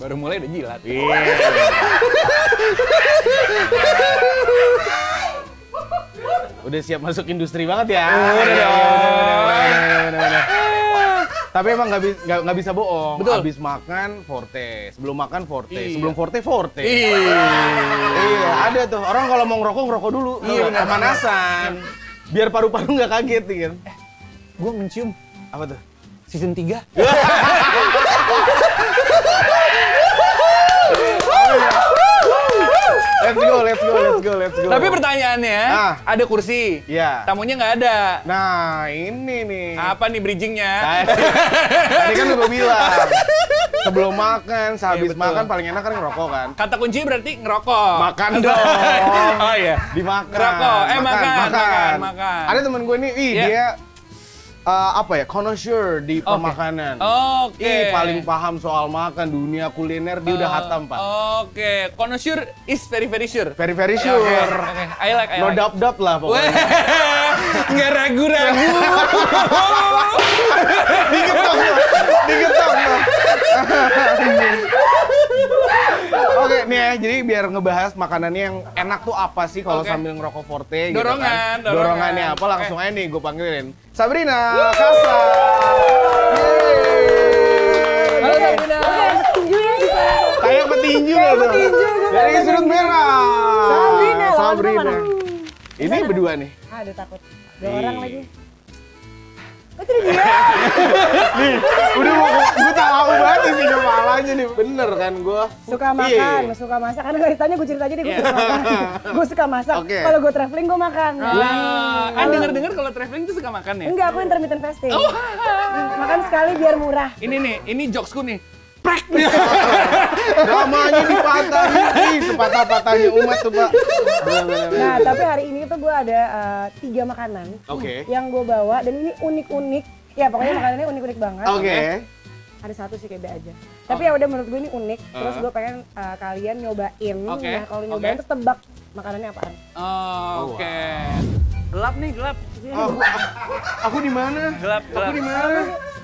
Baru mulai udah jilat. Iya. Udah siap masuk industri banget ya. Udah dong. Tapi emang nggak bi- nggak- nggak bisa bohong. Betul. Habis makan forte, sebelum makan forte, Iya. sebelum forte forte. Ih. Iya, ada tuh. Orang kalau mau ngerokok ngerokok dulu. Iya, Tau nggak? benar. Pemanasan. Biar paru-paru nggak kaget gitu. Gue mencium Apa tuh? season 3. Let's go, let's go, let's go, let's go. Tapi pertanyaannya, Ah. ada kursi. Iya. Tamunya nggak ada. Nah, ini nih. Apa nih bridgingnya? Tadi, tadi kan udah bilang sebelum makan, sehabis Iya, betul. makan paling enak kan ngerokok kan. Kata kunci berarti ngerokok. Makan dong. oh iya. Dimakan. Ngerokok. Eh, makan, makan, makan. Ada temen gue nih, ih Iya. dia eh, apa ya? connoisseur di Oke. pemakanan. Oke. Eh, Ih, paling paham soal makan, dunia kuliner dia udah hatam, Pak. oh. Oke, connoisseur is very very sure. Very very sure. Oke, oke. I like, I No like. doubt doubt Weh, lah pokoknya. Nggak ragu-ragu. Digetok loh, digetok loh. Oke nih ya, jadi biar ngebahas makanannya yang enak tuh apa sih kalau Oke. sambil ngerokok forte gitu Dorongan, kan. dorongan. Dorongannya apa Oke. langsung aja nih gue panggilin. Sabrina Kasa. Yeay. Halo Sabrina. Kayak petinju Kayak petinju. Dari sudut merah. Sabrina, lawan Sabrina. mana? Ini berdua nih. Aduh takut. Dua orang Ih. lagi. Oh, itu dia. Udah mau gue tahu banget sih kepalanya nih. Bener kan Iya. gue? Suka makan, suka masak. Karena kalau ditanya gue cerita aja deh, gue suka makan. gue suka masak. Iya. Oke. Kalau gue traveling, gue makan. Nah, Ah, kan denger-dengar kalau traveling tuh suka makan ya? Oh. Enggak, aku intermittent fasting. Oh. Makan sekali biar murah. Ini nih, ini jokesku nih. Dramanya dipatahin. Ih, sepatah-patahnya umat tuh, Pak. Bener, bener, bener. Nah, tapi hari ini tuh gue ada eh, tiga makanan Oke. yang gue bawa. Dan ini unik-unik. Ya, pokoknya makanannya unik-unik banget. Oke. Ada satu sih kayak aja. Tapi Oh. ya udah menurut gue ini unik. Terus gue pengen eh, kalian nyobain. Uh-huh. Oke, Nah, kalau nyobain oke. terus tebak makanannya apaan. Oh, Oke. Gelap nih, gelap. Aku, aku di mana? Gelap, Aku gelap. di mana?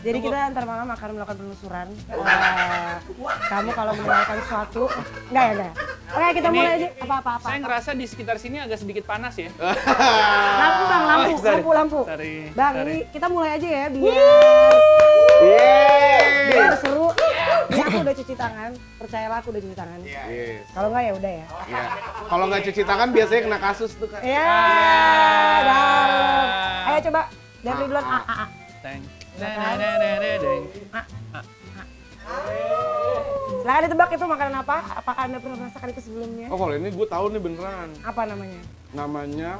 Jadi kita antar malam akan melakukan penelusuran. Eh, kamu kalau menemukan suatu, enggak ya enggak. Oke kita Ini- mulai aja. Apa apa apa. Saya ngerasa di sekitar sini agak sedikit panas ya. Lampu bang, lampu, Oh, sorry. lampu, lampu. Sorry, Bang, sorry. ini kita mulai aja ya biar, Yeay. biar seru. Ini aku udah cuci tangan, percayalah aku udah cuci tangan. Iya. Yes. Kalau enggak ya udah ya. Iya. Kalau nggak cuci tangan biasanya kena kasus tuh Iya. kan. Ya, dah. Ayo coba dari duluan. Ah, ah, ah. Teng. Na, na, na, na, na, deng. Silahkan ditebak itu makanan apa? Apakah anda pernah merasakan itu sebelumnya? Oh kalau ini gue tahu nih beneran. Apa namanya? Namanya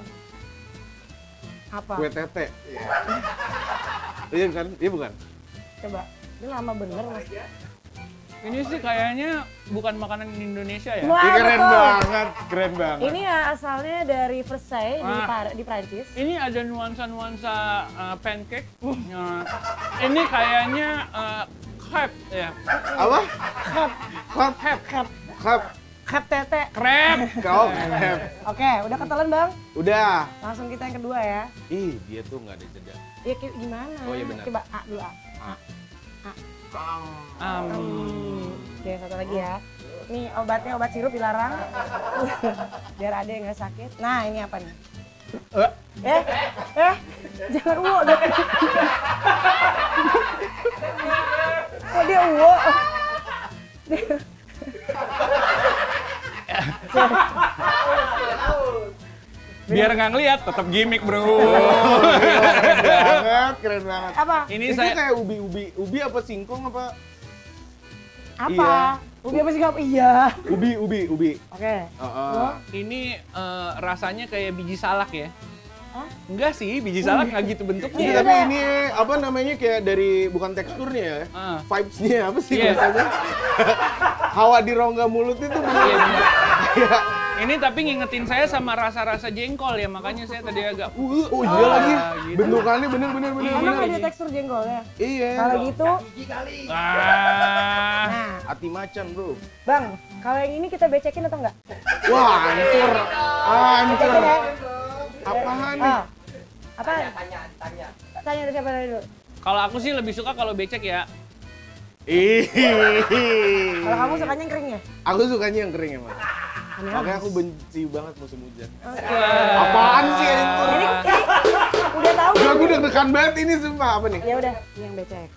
Apa? kue tete. Iya kan? Iya bukan? Coba. Ini lama bener mas. Iya. Ini sih kayaknya bukan makanan Indonesia ya. Wah, Ih, keren betul. banget, keren banget. Ini ya asalnya dari Versailles di, Ah. Par- di Prancis. Ini ada nuansa-nuansa uh, pancake. Uh, ini kayaknya uh, crepe ya. Apa? Klap, Crepe, crepe. klap, Krep tete. Crepe. kau. Oke, udah ketelan bang. Udah. Langsung kita yang kedua ya. Ih, dia tuh nggak ada jeda. Ya ki- gimana? Oh, iya benar. Coba A dulu A. Um, Oke, satu lagi ya. Nih obatnya obat sirup dilarang. Biar ada yang nggak sakit. Nah ini apa nih? Eh, eh, jangan uwo dong. Kok dia uwo? biar nggak ngeliat, tetap gimmick bro. Keren banget, keren banget. Apa? ini Ini saya kayak ubi-ubi, ubi apa singkong apa? Apa? Iya. Ubi apa sih kamu? Iya. Ubi, ubi, ubi. Oke. Heeh. ini eh, rasanya kayak biji salak ya. Hah? Enggak sih, biji salak nggak gitu Ini bentuknya. tapi ini apa namanya kayak dari bukan teksturnya ya, Ah. vibes-nya apa sih Iya. biasanya? Hawa di rongga mulut itu bener. Iya, bener. Ini tapi ngingetin saya sama rasa-rasa jengkol ya, makanya saya tadi agak uh. Oh iya lagi, gitu. bentukannya bener bener bener Iya. Ah, Emang bener. ada tekstur jengkolnya? Iya. Kalau gitu, Ah. nah, Hati macan bro. Bang, kalau yang ini kita becekin atau enggak? Wah hancur, hancur. Becekin ya. Apaan nih? Ah. Apa? Tanya, tanya, tanya. Tanya dari siapa dulu? Kalau aku sih lebih suka kalau becek ya. Ih. Kalau Kalau kamu sukanya yang kering ya? Aku sukanya yang kering emang. Aneh Makanya banget. aku benci banget musim hujan. Ah. Wah. Apaan sih itu? Ini, ini udah tahu Udah belum? gue deg-degan banget ini sumpah apa nih? Ya udah, ini yang becek.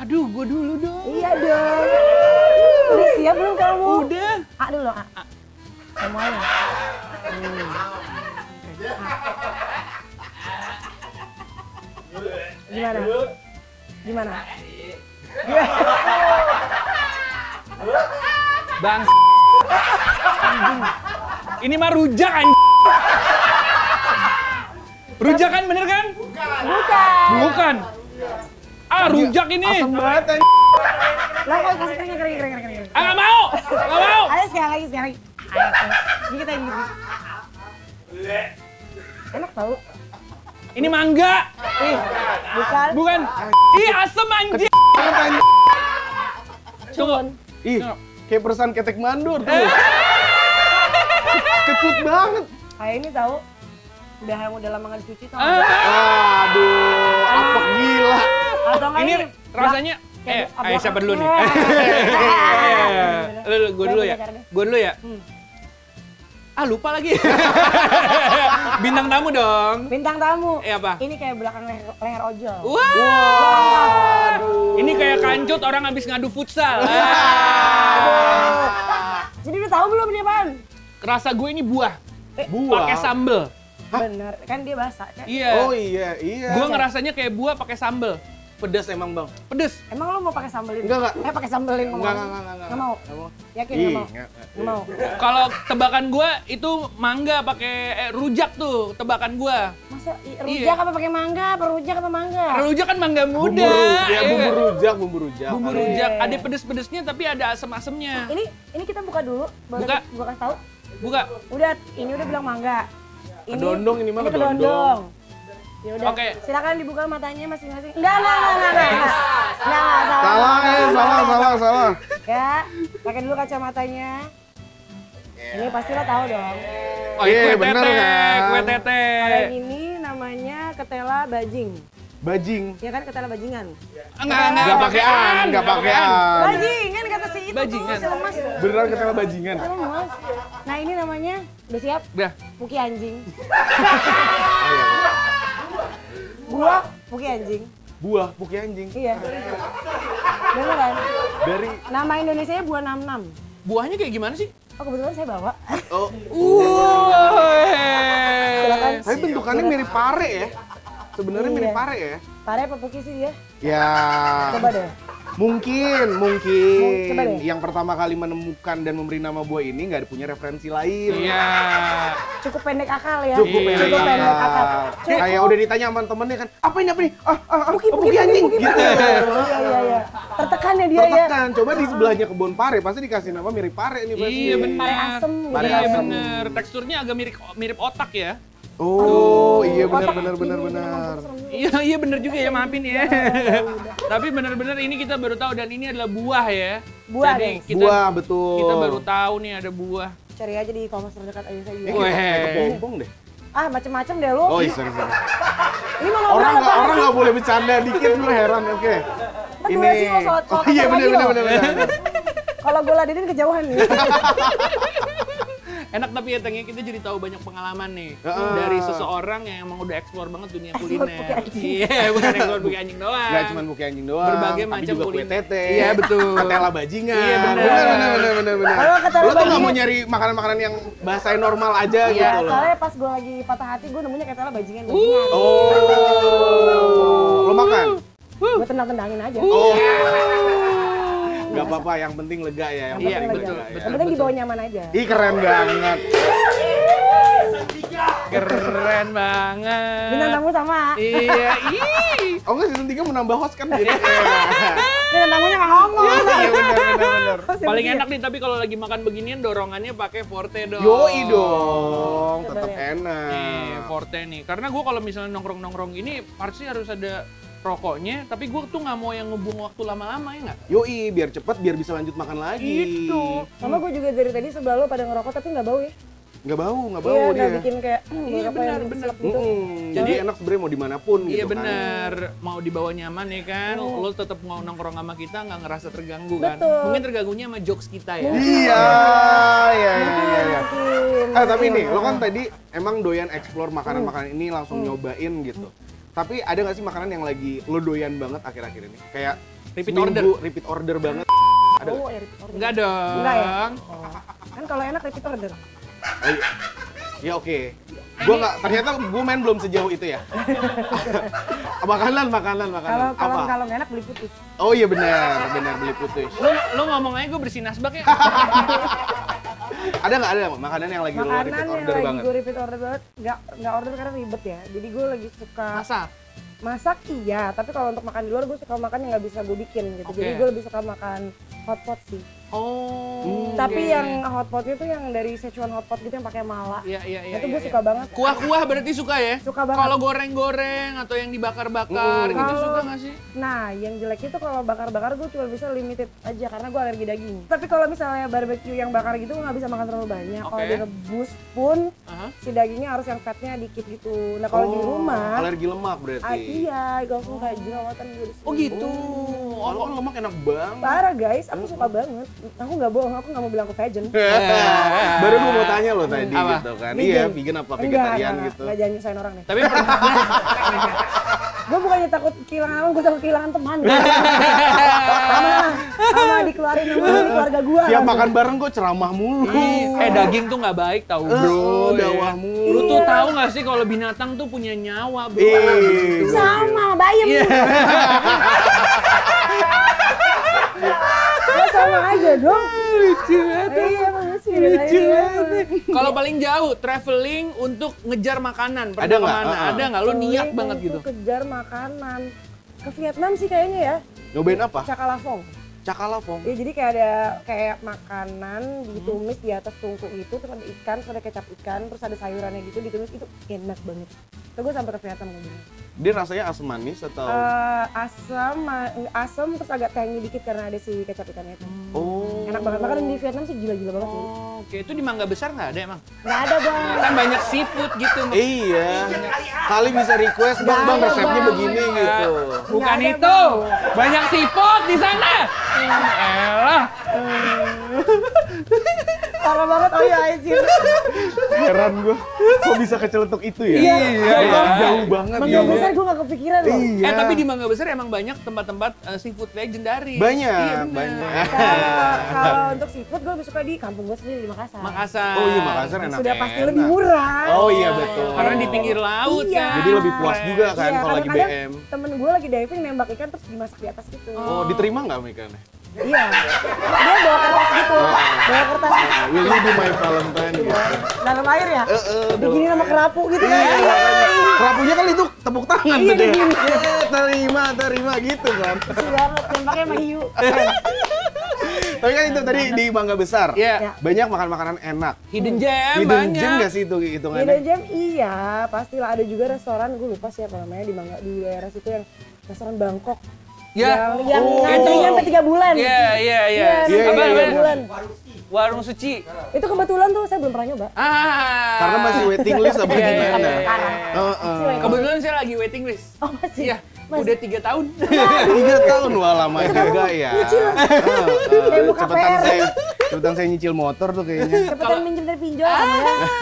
Aduh, gua dulu dong. Iya dong. Udah siap belum kamu? Udah. A dulu, A. Semuanya. Hmm. Gimana? Gimana? Bang. Anjing. Ini mah rujak anjing. Rujak kan bener kan? Bukan. Bukan. Ah, rujak ini. Asem banget anjing. Lah kok kasih kering, kering, kering, kering. kering. Ah, nggak mau. Nggak mau. Ayo sekali lagi, sekali lagi. Ayo, ayo. Ini kita yang gini. Enak tau. Ini mangga. Ih, bukan. Bukan. Ih, asem anjing. Banget anjing. Tunggu. Ih, kayak perusahaan ketek mandur tuh. Kecut banget. Kayak ini tahu. Udah yang udah lama nggak dicuci tau. nggak? Ah, Aduh, apa gila. Atau nggak Ya, ini rasanya eh kayak gitu. ayo siapa dulu nih? Iya, Eh, ablak- Lu, lu gue dulu ya. Gue dulu ya. Hmm. Ah, lupa lagi. Bintang tamu dong. Bintang tamu. Eh apa? Uh. Ini kayak belakang leher, leher ojol. Wah. Ini kayak kancut orang habis ngadu futsal. Iya. Ah. Jadi udah tahu belum ini apaan? Rasa gue ini buah. Buah. Pakai sambel. Bener, kan dia basah kan? Oh Iya. iya, iya. Gue ngerasanya kayak buah pakai sambel. pedas emang, Bang. Pedes. Emang lo mau pakai sambelin? Enggak, enggak. Eh pakai sambelin ngomong. Enggak, enggak, enggak, enggak. Nggak mau. Enggak mau. Yakin Ih, nggak mau? enggak, enggak. Nggak mau. Kalau tebakan gue itu mangga pakai eh, rujak tuh tebakan gue. Masa i- Iya. rujak apa pakai mangga? Apa rujak apa mangga? Rujak kan mangga muda. Bumbu rujak, Iya. bumbu rujak, bumbu rujak. Bumbu Aduh. rujak. Ada pedes-pedesnya tapi ada asem-asemnya. Ini ini kita buka dulu. Boleh Buka. gua kasih tahu. Buka. Udah, ini udah bilang mangga. Kedondong ini mah, kedondong. kedondong. Ya udah. Oke. Silakan dibuka matanya masing-masing. Enggak, enggak, enggak, enggak, enggak. Enggak, enggak, salah. Salah, eh, salah, salah, salah. Ya, pakai dulu kacamatanya. Ini pasti lo tahu dong. Oh, ini Iya, kue bener tete, kan? kue tete. Kalau yang ini namanya ketela bajing. Bajing. Ya kan ketela bajingan. Enggak, enggak. Enggak pakean, enggak pakean. Bajingan kata si itu Bajingan. tuh, si lemas. Beneran ketela bajingan. Si lemas. Nah, ini namanya udah siap? Udah. Puki anjing. Gua Puki anjing. Buah puki anjing. Iya. Beneran. Dari Nama Indonesia buah 66. Buahnya kayak gimana sih? Oh, kebetulan saya bawa. oh, Silakan. Wuih. tapi bentukannya mirip pare ya. Sebenarnya mirip Iya. pare ya. Pare apa Puki sih dia? Ya. Coba deh. Mungkin, Mung- mungkin coba deh. yang pertama kali menemukan dan memberi nama buah ini nggak ada punya referensi lain. Iya. Cukup pendek akal ya. Cukup Iya. pendek Cukup pendek akal. akal. Cukup. Iya, Kayak udah ditanya sama temennya kan, apa ini apa ini? Ah, ah, ah, Puki, oh, Puki, anjing Puki, Puki, gitu. Puki. Iya, iya, iya. Tertekan ya dia ya. Tertekan, kan." coba di sebelahnya kebun pare, pasti dikasih nama mirip pare nih pasti. Iya benar. Pare asem gitu. Pare Iya asem. benar. Teksturnya agak mirip mirip otak ya. Oh, iya benar Otak benar gini, benar gini, benar. mampus, serem. Iya iya benar juga ya maafin ya. Tapi benar-benar ini kita baru tahu dan ini adalah buah ya. Buah, Jadi guys. kita Buah betul. kita baru tahu nih ada buah. Cari aja di e-commerce terdekat aja saya Eh, juga. Weh. kayak kepompong deh. Ah, macem-macem deh lu. Oh, iya, sorry, sorry. Ini mau ngobrol Orang nggak apa orang sih? nggak boleh bercanda dikit lu heran, oke. Ntar durasi lo sholat- Oh sholat iya asar benar lagi benar loh. benar benar. Kalau gue ladenin kejauhan nih. Enak tapi ya Teng, ya, kita jadi tahu banyak pengalaman nih Heeh. dari seseorang yang emang udah eksplor banget dunia Explore pakai kuliner. anjing. Iya, bukan eksplor bukan anjing doang. Gak cuma buki anjing doang. Berbagai tapi macam juga kue kuliner. tete. Iya, betul. Ketela bajingan. Iya, benar. Benar benar benar benar benar. Kalau ketela Lu tuh nggak bajingan- mau nyari makanan-makanan yang bahasanya normal aja Iya. gitu loh. Soalnya pas gue lagi patah hati, gue nemunya ketela bajingan. Uh. bajingan. Oh, lo makan? Iya. Gue tendang-tendangin aja. uh. Oh. Gak apa-apa, yang penting lega ya. Yang Iya, betul, penting lega ya. betul. Yang penting dibawa nyaman aja. Ih keren banget. Keren banget. Bintang tamu sama. Iya, ih. Oh enggak season 3 menambah host kan jadi. Bintang tamunya nggak ngomong. Iya benar benar benar. Pasti Paling begini. enak nih tapi kalau lagi makan beginian dorongannya pakai forte dong. Yoi dong, tetap Coba Nih, enak. forte nih. Karena gue kalau misalnya nongkrong-nongkrong gini pasti harus ada rokoknya, tapi gue tuh nggak mau yang ngebuang waktu lama-lama ya nggak? Yoi, biar cepet, biar bisa lanjut makan lagi. Gitu. Mama gue juga dari tadi sebelah lo pada ngerokok tapi nggak bau ya. Nggak bau, nggak bau Iya, dia. nggak bikin kayak hmm, Iya, apa benar, yang benar. selap Hmm, gitu. Mm-mm. Jadi Jadi- enak sebenarnya mau dimanapun gitu Iya kan. benar, mau dibawa nyaman ya kan, Hmm. lo tetap mau nongkrong sama kita nggak ngerasa terganggu kan? Betul. Mungkin terganggunya sama jokes kita ya. Iya, iya, iya, iya, iya. Mungkin, Eh tapi mungkin. nih, lo kan tadi emang doyan explore makanan-makanan ini langsung nyobain gitu. Tapi ada nggak sih makanan yang lagi lo doyan banget akhir-akhir ini? Kayak Repeat seminggu, order. repeat order banget. Ada nggak? Oh, ya repeat order. Enggak dong. Enggak ya? Hmm. Oh. Kan kalau enak repeat order. Oh, iya. Ya oke. Gua nggak ternyata gue main belum sejauh itu ya. makanan, makanan, makanan. Kalau kalau Apa? kalau nggak enak beli putus. Oh iya benar, benar beli putih. Lo, lo ngomong aja gue bersihin asbak ya. Ada nggak ada nggak makanan yang lagi lo Makanan repeat yang order lagi banget? gue repeat order banget, nggak nggak order karena ribet ya. Jadi gue lagi suka Masak. masak iya, tapi kalau untuk makan di luar gue suka makan yang nggak bisa gue bikin gitu. Jadi Oke. gue lebih suka makan hot pot sih. Oh. Hmm. Tapi oke. yang hot potnya tuh yang dari Sichuan hot pot gitu yang pakai mala. Iya iya iya. itu iya, gue iya. suka banget. Kuah-kuah berarti suka ya? Suka banget. Kalau goreng-goreng atau yang dibakar-bakar Mm. gitu Kalau- suka nggak sih? Nah, yang jeleknya tuh kalau bakar-bakar gue cuma bisa limited aja karena gue alergi daging. Tapi kalau misalnya barbecue yang bakar gitu gue nggak bisa makan terlalu banyak. Kalau Oke. direbus pun Aha. si dagingnya harus yang fatnya dikit gitu. Nah kalau di Oh, rumah, alergi lemak berarti. ah, iya, gue langsung kayak jerawatan gue di sini. Oh gitu. Oh, Oh, kan lemak enak banget. Parah guys, aku suka banget. Aku nggak bohong, aku nggak mau bilang aku vegan. Baru gue mau tanya lo tadi Apa? gitu kan. Vegan. Iya, vegan apa vegetarian enggak, gitu. Enggak jangan nyusahin orang nih. Tapi pernah. Gue bukannya takut kehilangan orang, gue takut kehilangan teman. sama, sama dikeluarin sama keluarga gue. Tiap makan bareng gue ceramah mulu. Iya. Ih, eh daging tuh nggak baik tau oh, bro. ya. dawah mulu. Lu tuh tahu nggak sih kalau binatang tuh punya nyawa bro? Iya. Ih, Sama, bayem. Iya. Ya sama aja dong. Lucu eh, banget. Iya, emang lucu. Lucu. Kalau paling jauh traveling untuk ngejar makanan pernah Ada nggak? kemana? Ah, ah. Ada nggak? Lu Iya, niat banget gitu? kejar makanan. Ke Vietnam sih kayaknya ya, Nyobain apa? cakalavong. Cakalavong. Ya jadi kayak ada kayak makanan ditumis di atas tungku itu terus ada ikan, terus ada kecap ikan, terus ada sayurannya gitu ditumis itu enak banget. Itu gue sampai ke Vietnam kayak gini. Dia rasanya asam manis atau? Eh, asam, ma- asam terus agak tangy dikit karena ada si kecap ikannya itu. oh. Enak banget makanan di Vietnam sih gila-gila banget sih. Oh, Oke, itu di Mangga Besar nggak ada emang? Gak ada bang. Kan banyak seafood gitu. Iya. Kali bisa request bang, Nggak bang ada, resepnya Iya, Bang. Iya. begini gitu. Bukan Nggak ada, itu, Bang. banyak seafood di sana. Elah, Parah banget iya, oh ya anjir. Heran gue, kok bisa keceletuk itu ya? Iya. iya. Jauh banget Mangga besar gue gak kepikiran loh. Iya. Eh tapi di Mangga Besar emang banyak tempat-tempat eh, seafood legendaris. Banyak, Iya, benar. banyak. Kalau kalau untuk seafood gue lebih suka di kampung gue sendiri di Makassar. Makassar. Oh iya Makassar enak. Sudah pasti enak. lebih murah. Oh iya betul. Karena di pinggir laut Iya. kan. Jadi lebih puas juga kan kalau lagi BM. kadang-kadang Temen gue lagi diving nembak ikan terus dimasak di atas gitu. Oh, diterima nggak Nah, ikannya? Iya. Dia bawa kertas gitu. Oh. Bawa kertas gitu. Will you be my Valentine gitu? Dalam air ya. Eh, eh, dong. Begini sama kerapu gitu kan. Iya, Kerapunya kan itu tepuk tangan Iya, tuh dia. begini. Eh, terima, terima gitu kan. Lucu banget Iya. nembaknya sama hiu. Eh, Tapi kan itu tadi di Bangga Besar. Iya. Iya. Eh, Banyak makan-makanan enak. Hidden gem Hidden banyak. gem nggak sih itu Di The hitungannya? Jam iya, pastilah ada juga restoran gue lupa siapa namanya di Mangga di daerah situ yang restoran Bangkok. Ya. Yang, yang Oh. ngantrinya sampai 3 bulan. Iya, iya, iya. Iya, Iya, Apa, iya, apa? tiga bulan. Warung suci. Itu kebetulan tuh saya belum pernah nyoba. Ah. Karena masih waiting list apa Iya, iya, gimana? iya, iya. Heeh. Kebetulan saya lagi waiting list. Oh masih. Iya, Masih. udah tiga tahun. Tiga tahun wah lama juga ya. Heeh, Iya. Kayak buka Cepetan PR. saya, cepetan saya nyicil motor tuh kayaknya. Nah, Cepetan minjem dari pinjol. Ah,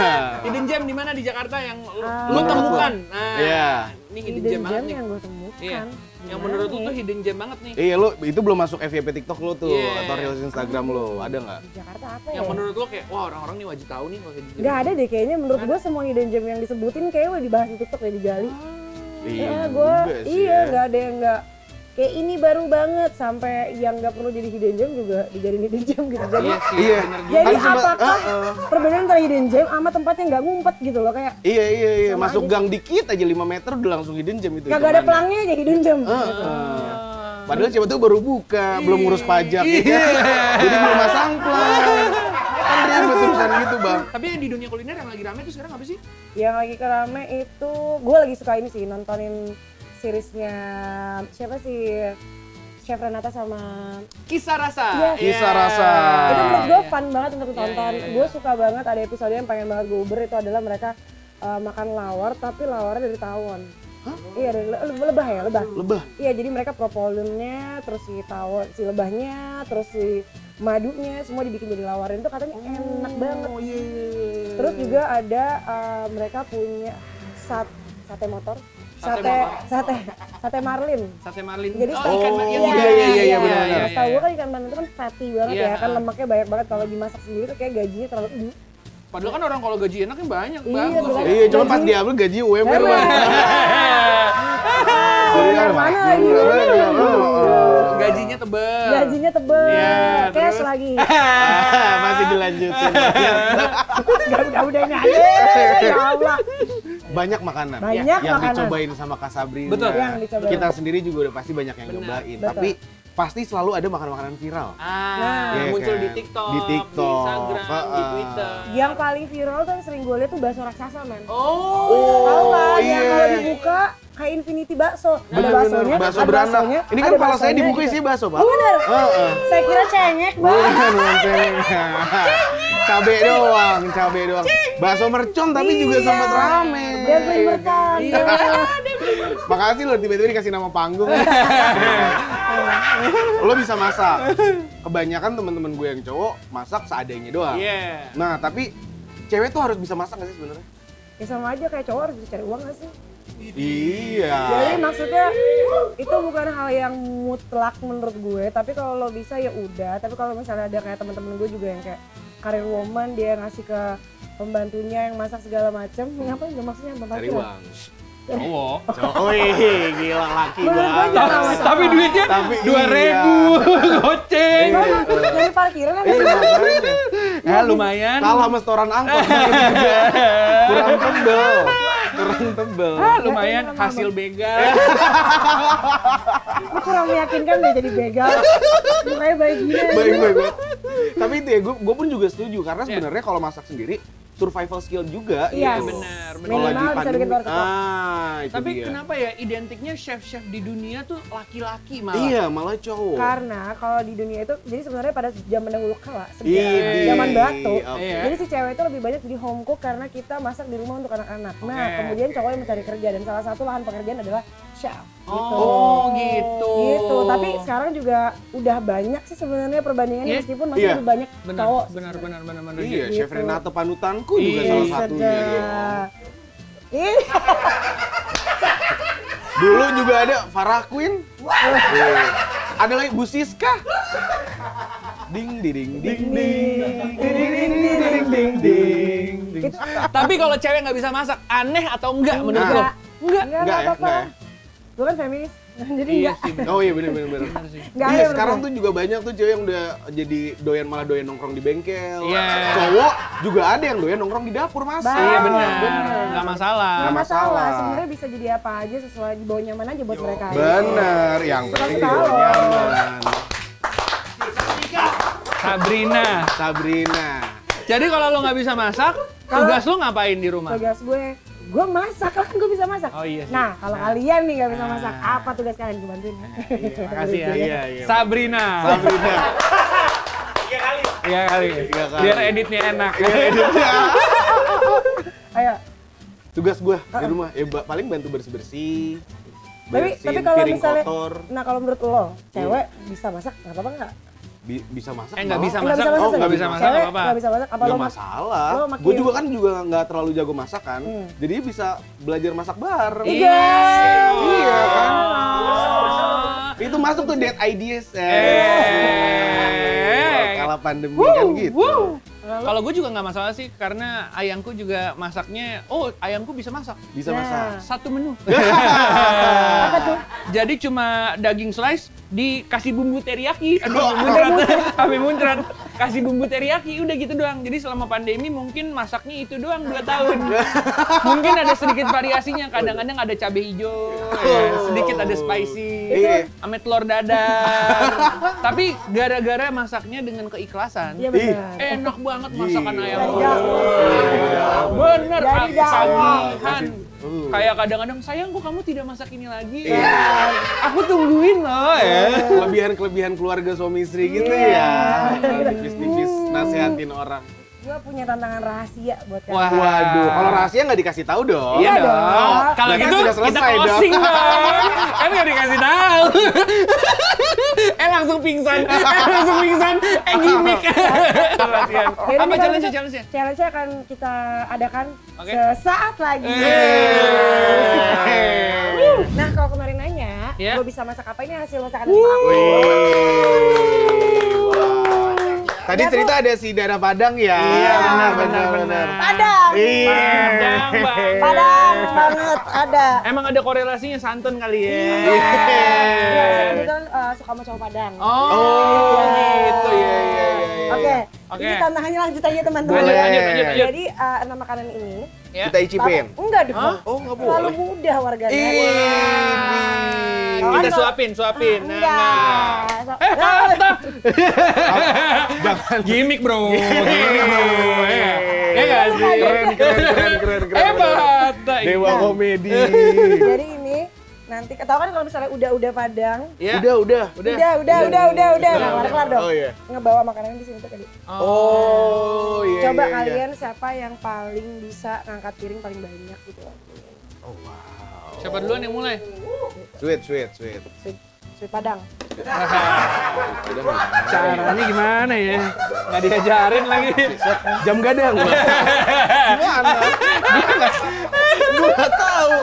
ya. Hidden gem di mana di Jakarta yang lu, Ah. lu temukan? Nah, Iya. ini hidden, Hidden gem banget gem nih. yang gue temukan. Iya. Yang Gimana menurut lu nih? tuh hidden gem banget nih. Iya lo itu belum masuk FYP TikTok lo tuh Iya. atau reels Instagram lo ada nggak? di Jakarta apa ya? Yang menurut lu kayak wah orang-orang nih wajib tahu nih kalau hidden gem. Gak ada deh kayaknya menurut gue semua hidden gem yang disebutin kayaknya udah dibahas di TikTok ya digali. Ya, gue Iya juga sih iya ya. nggak ada yang nggak kayak ini baru banget sampai yang nggak perlu jadi hidden gem juga dijadiin hidden gem gitu. Jadi Iya sih, Iya. bener juga. jadi Kan sempat- apakah eh, eh. perbedaan antara hidden gem sama tempat yang nggak ngumpet gitu loh kayak Iya iya iya Sama masuk aja. gang dikit aja 5 meter udah langsung hidden jam itu. kagak ada hitungannya. Ah. pelangnya aja hidden gem. gitu. Heeh. Padahal siapa tuh baru buka, belum ngurus pajak, ya Iya. kan? jadi belum masang plang. Kan ribet urusan gitu bang. Tapi yang di dunia kuliner yang lagi rame tuh sekarang apa sih? Yang lagi kerame itu gue lagi suka ini sih nontonin seriesnya siapa sih Chef Renata sama Kisah rasa. Yes. Iya. Kisah rasa. itu menurut gue Iya. fun banget untuk ditonton. iya, iya. Gue suka banget ada episode yang pengen banget gue uber itu adalah mereka uh, makan lawar tapi lawarnya dari tawon. Iya dari le- le- lebah ya lebah. Lebah. Iya jadi mereka propolimnya terus si tawon si lebahnya terus si madunya semua dibikin jadi lawaran itu katanya enak banget. Oh iya. Terus juga ada uh, mereka punya sat sate motor, Sate motor. sate sate sate marlin. Sate Marlin. Jadi oh, setahu- ikan Marlin. iya, yang iya, di- iya, iya, iya, benar, benar. Setahu gue kan ikan bandeng itu kan fatty banget Iya, ya, kan ah. lemaknya banyak banget kalau dimasak sendiri tuh kayak gajinya terlalu "Ih, Padahal kan orang kalau gaji enaknya banyak, Iya, bagus benar. ya. Iya, cuma pas Gaji- diambil gaji UMR. Emang. Jadi kan Mana makin lagi? berat, Mana berat, lagi? berat. Gajinya tebel. gajinya tebel, Iya, cash terus? lagi. Ah, Masih dilanjutin. Udah udah ini aja, ya Allah. Banyak makanan. Banyak yang makanan. dicobain sama Kak Sabrina. Betul. Yang dicobain. Kita sendiri juga udah pasti banyak yang Benar. nyobain. Betul. Tapi pasti selalu ada makanan-makanan viral. Ah, Nah. Iya muncul kan? di TikTok, Di di TikTok, Instagram, di heeh. Twitter. Yang paling viral tuh yang sering gue liat tuh bakso raksasa men. Oh, Tahu nggak? iya. Yang kalau dibuka kayak infinity bakso. Ada Bener, baksonya, bener. Bakso ada beranak. baksonya, Ini ada kan kepala saya baksonya dibuka gitu. isinya bakso, Pak. Oh bener. Heeh. Saya kira cengek banget. Bukan lonceng. cabe doang, cabe doang. Bakso mercon tapi juga Iya. sempat rame. Dia beli mercon. Iya. Makasih lo tiba-tiba dikasih nama panggung. lo bisa masak. Kebanyakan teman-teman gue yang cowok masak seadanya doang. iya. Nah, tapi cewek tuh harus bisa masak gak sih sebenarnya? Ya sama aja kayak cowok harus bisa cari uang gak sih? Iya. Jadi maksudnya itu bukan hal yang mutlak menurut gue, tapi kalau lo bisa ya udah. Tapi kalau misalnya ada kayak teman-teman gue juga yang kayak karir woman dia ngasih ke pembantunya yang masak segala macam, ngapain gak maksudnya Cari pembantu? uang. Oh. Cowok. Cowok, wih, gila laki Menurut gue banget. jangan masak. Tapi duitnya Tapi dua iya. ribu goceng. Gue mau dari parkiran kan? Iya, makanya. Iya. Ya lumayan. Kalah sama setoran angkot. Kurang tebel. Kurang tebel. Iya. Ah, lumayan hasil begal. Iya. Lu kurang meyakinkan dia jadi begal. Mukanya baik gini. baik baik baik. tapi itu ya gue gue pun juga setuju karena sebenarnya kalau masak sendiri survival skill juga Iya, gitu. benar, benar. Kalau lagi Minimal bisa bikin pandemi, telur ceplok. ah itu Tapi dia. kenapa ya identiknya chef-chef di dunia tuh laki-laki malah? iya malah cowok Karena kalau di dunia itu, jadi sebenarnya pada zaman dahulu kala, Idi, sebelum zaman batu, Iya, oke. Iya. jadi si cewek itu lebih banyak jadi home cook karena kita masak di rumah untuk anak-anak. Nah, Oke. kemudian cowok yang mencari kerja dan salah satu lahan pekerjaan adalah chef. Gitu. Oh, gitu. Gitu. Tapi sekarang juga udah banyak sih sebenarnya perbandingannya Iya. meskipun masih Iya. lebih banyak Benar, cowok. benar, benar, benar, benar. iya Gitu. chef Renato panutanku juga Iya, salah Iya, satunya sedap. Ih, Iya. dulu juga ada Farah Queen Iya. ada lagi Bu Siska ding di ding ding ding ding ding ding ding ding ding ding Itu- Iya. Tapi kalau cewek nggak bisa masak, aneh atau enggak menurut lo? Gitu. enggak. Enggak, enggak, Enggak ya, apa-apa. enggak ya? Gue kan feminis, jadi Iya enggak. sih, benar. oh iya benar benar benar Benar sih. Enggak iya ada sekarang berarti. tuh juga banyak tuh cewek yang udah jadi doyan malah doyan nongkrong di bengkel. Iya. Cowok juga ada yang doyan nongkrong di dapur masih. Bah. Iya benar. benar. Enggak masalah. nggak Ah, Nggak masalah. masalah. Sebenarnya bisa jadi apa aja sesuai di bawah nyaman aja buat mereka. Bener, yang Iya. penting tahu. juga nyaman. Sabrina. Sabrina. Jadi kalau lo nggak bisa masak, tugas lo ngapain di rumah? Tugas gue, gue masak lah, gue bisa masak. Oh, iya sih. Nah. Nah, kalau kalian nih gak bisa masak, apa tugas kalian? Gue bantuin. Makasih ya. Iya, iya. Sabrina. Sabrina. Iya kali. Tiga kali. Iya Biar editnya enak. Ayo. Tugas gue di rumah ya ba- paling bantu bersih-bersih. Tapi, Bersihin tapi kalau piring misalnya, kotor, Iya. nah kalau menurut lo, cewek bisa masak, nggak apa-apa nggak? Bi- bisa masak. Eh nggak mau? bisa Eh, nggak masak. masak, Oh nggak bisa nggak masak Cewek nggak apa-apa. nggak bisa masak, apa lo Gak mas- masalah. lo makin- Gue juga kan juga nggak terlalu jago masak kan. Hmm. Jadi bisa belajar masak bareng. Iya. Iya kan. Oh. Itu masuk tuh dead ideas. Eh. Eh. Kala pandemi kan gitu. Wuh. Kalau gue juga nggak masalah sih karena ayangku juga masaknya, oh ayangku bisa masak Bisa Nah. masak. satu menu. Apa tuh? Jadi cuma daging slice dikasih bumbu teriyaki, aduh Oh, muncrat, sampai muncrat. kasih bumbu teriyaki udah gitu doang. Jadi selama pandemi mungkin masaknya itu doang 2 tahun. mungkin ada sedikit variasinya. Kadang-kadang ada cabe hijau, ya, sedikit ada spicy, Iya. ame telur dadar. Tapi gara-gara masaknya dengan keikhlasan. Iya Ih. benar. Enak banget masakan ayam Dari goreng. dapur. Bener, Dari Pak. dapur. Tagihan. Uh. Kayak kadang-kadang, sayang kok kamu tidak masak ini lagi. Iya. Aku tungguin loh ya. Kelebihan-kelebihan keluarga suami istri gitu Iya. ya. Tipis-tipis nasihatin orang. Gue punya tantangan rahasia buat kalian. Wah. Waduh, kalau rahasia nggak dikasih tahu Nah. dong. Iya Iya dong. dong. Kalau Berarti gitu sudah kita selesai dong. closing dong. kan gak dikasih tahu. eh langsung pingsan. Eh langsung pingsan. Eh gimmick. Yaudah, Apa nih, kalau challenge-nya? gitu, Challenge-nya? Challenge-nya akan kita adakan Oke. sesaat lagi. Eh. Wuh. Nah kalau kemarin nanya, Iya. gue bisa masak apa ini hasil masakan aku. Wih, wah. Tadi cerita ada si darah Padang ya. Iya, benar, benar, benar. Padang, Iya. Padang, Bang. padang banget ada. Emang ada korelasinya santan kali ya. Iya, saya kebetulan eh, suka sama cowok Padang. Oh, Iya, Oh, gitu ya. Oke, Oke. ini tantangannya lanjut aja teman-teman. Lanjut, lanjut, lanjut, lanjut. Jadi eh, enam makanan ini Ya. Kita icipin. lama- enggak deh, Bang. Oh, nggak terlalu boleh. mudah warganya. Ih, Kalau Kita kan- suapin, suapin. Ah, Nah, enggak. nah. So- Eh, Nah. patah. Nah, Gimik bro, gimik bro. Ya ya nggak sih? Iya, Keren, keren, keren, keren, keren. Eh, patah. Dewa komedi. Jadi ini nanti ketahuan kan kalau misalnya udah-udah Padang, Ya. Udah, udah. Udah. udah, udah, udah, udah, udah, Udah, nah, udah. kelar dong. Oh iya. Ngebawa makanan di sini tuh tadi. Oh, iya. Coba iya, iya. kalian siapa yang paling bisa ngangkat piring paling banyak gitu. Oh, wow. Siapa duluan yang mulai? Sweet, sweet, sweet. Sweet, sweet Padang. Udah, udah. Caranya gimana ya? Nggak diajarin lagi. jam gadang gua. Gimana? Gua nggak- Gua nggak tahu.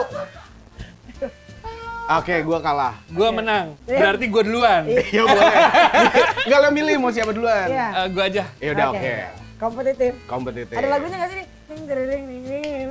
Oke, gua kalah. Gue menang. Berarti gue duluan. Ya boleh. Enggak lo milih mau siapa duluan? Iya. gue Eh, aja. Ya udah oke. Oke. Kompetitif. Kompetitif. Ada lagunya nggak sih nih? Ding ding ding ding ding ding.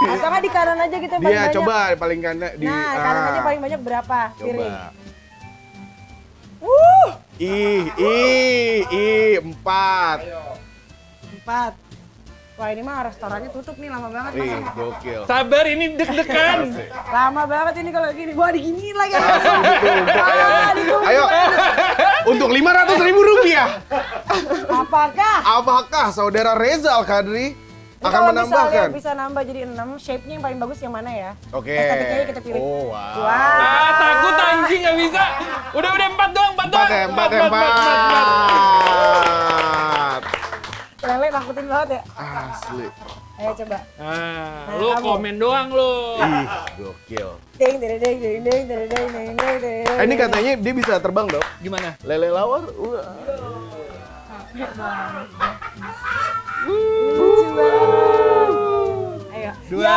Atau nggak di kanan aja gitu yang paling dia banyak? Iya, coba paling kanan di Nah, ah, kanan aja paling banyak berapa coba. piring? Wuh, Ih, ih, ih, empat. empat. Wah ini mah restorannya tutup nih lama banget. Mas. Ih, gokil. Sabar ini deg-degan. Asik. Lama banget ini kalau gini. Wah diginiin lagi. Wah, diginiin. Ayo, untuk 500 ribu rupiah, Apakah apakah saudara Rezal Kadri Ini akan kalau menambahkan? misalnya bisa nambah jadi 6, shape-nya yang paling bagus yang mana ya? Oke. Estetikanya kita pilih. Oh, wow. Wow. Ah, takut anjing nggak bisa. Udah udah empat doang, empat Empat doang. ya, empat ya, empat. Lele nakutin banget ya? Asli. Ayo coba. Ah, Nah, lu kamu. komen doang lu. Ih, gokil. Ding, ding, ding, ding, ding, ding, ding, ding, ding, ding. Eh, ini katanya dia bisa terbang dong. Gimana? Lele lawar. Wah. Lucu banget. Ayo. Dua, Ya, ya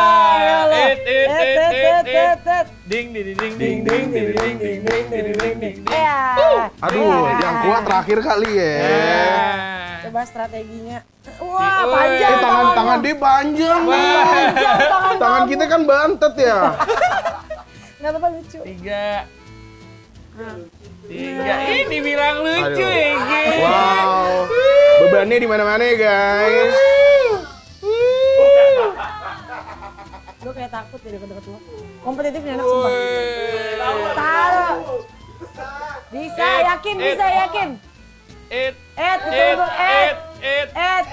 Allah. et, et, Et, et, et, et, et, et, et. Ding ding ding ding Ding ding ding ding ding ding ding ding ding. Ya. Aduh, Ya. yang kuat terakhir kali ya. Ah. Coba strateginya. Wah, Ih, panjang. Eh, tangan tangan dia panjang. Wah. Panjang tangan. Tangan kita kan bantet ya. Nggak apa-apa lucu. tiga tiga ini dibilang lucu ya Aduh. Iya. Ge. Wow. Bebannya di mana-mana ya, guys. Gue Hmm. kayak takut dari deket-deket lo. Kompetitif nih anak sumpah. Taruh. Bisa, Eh, yakin, eh. bisa, yakin. it Ed, betul it betul Ed. it it Ed,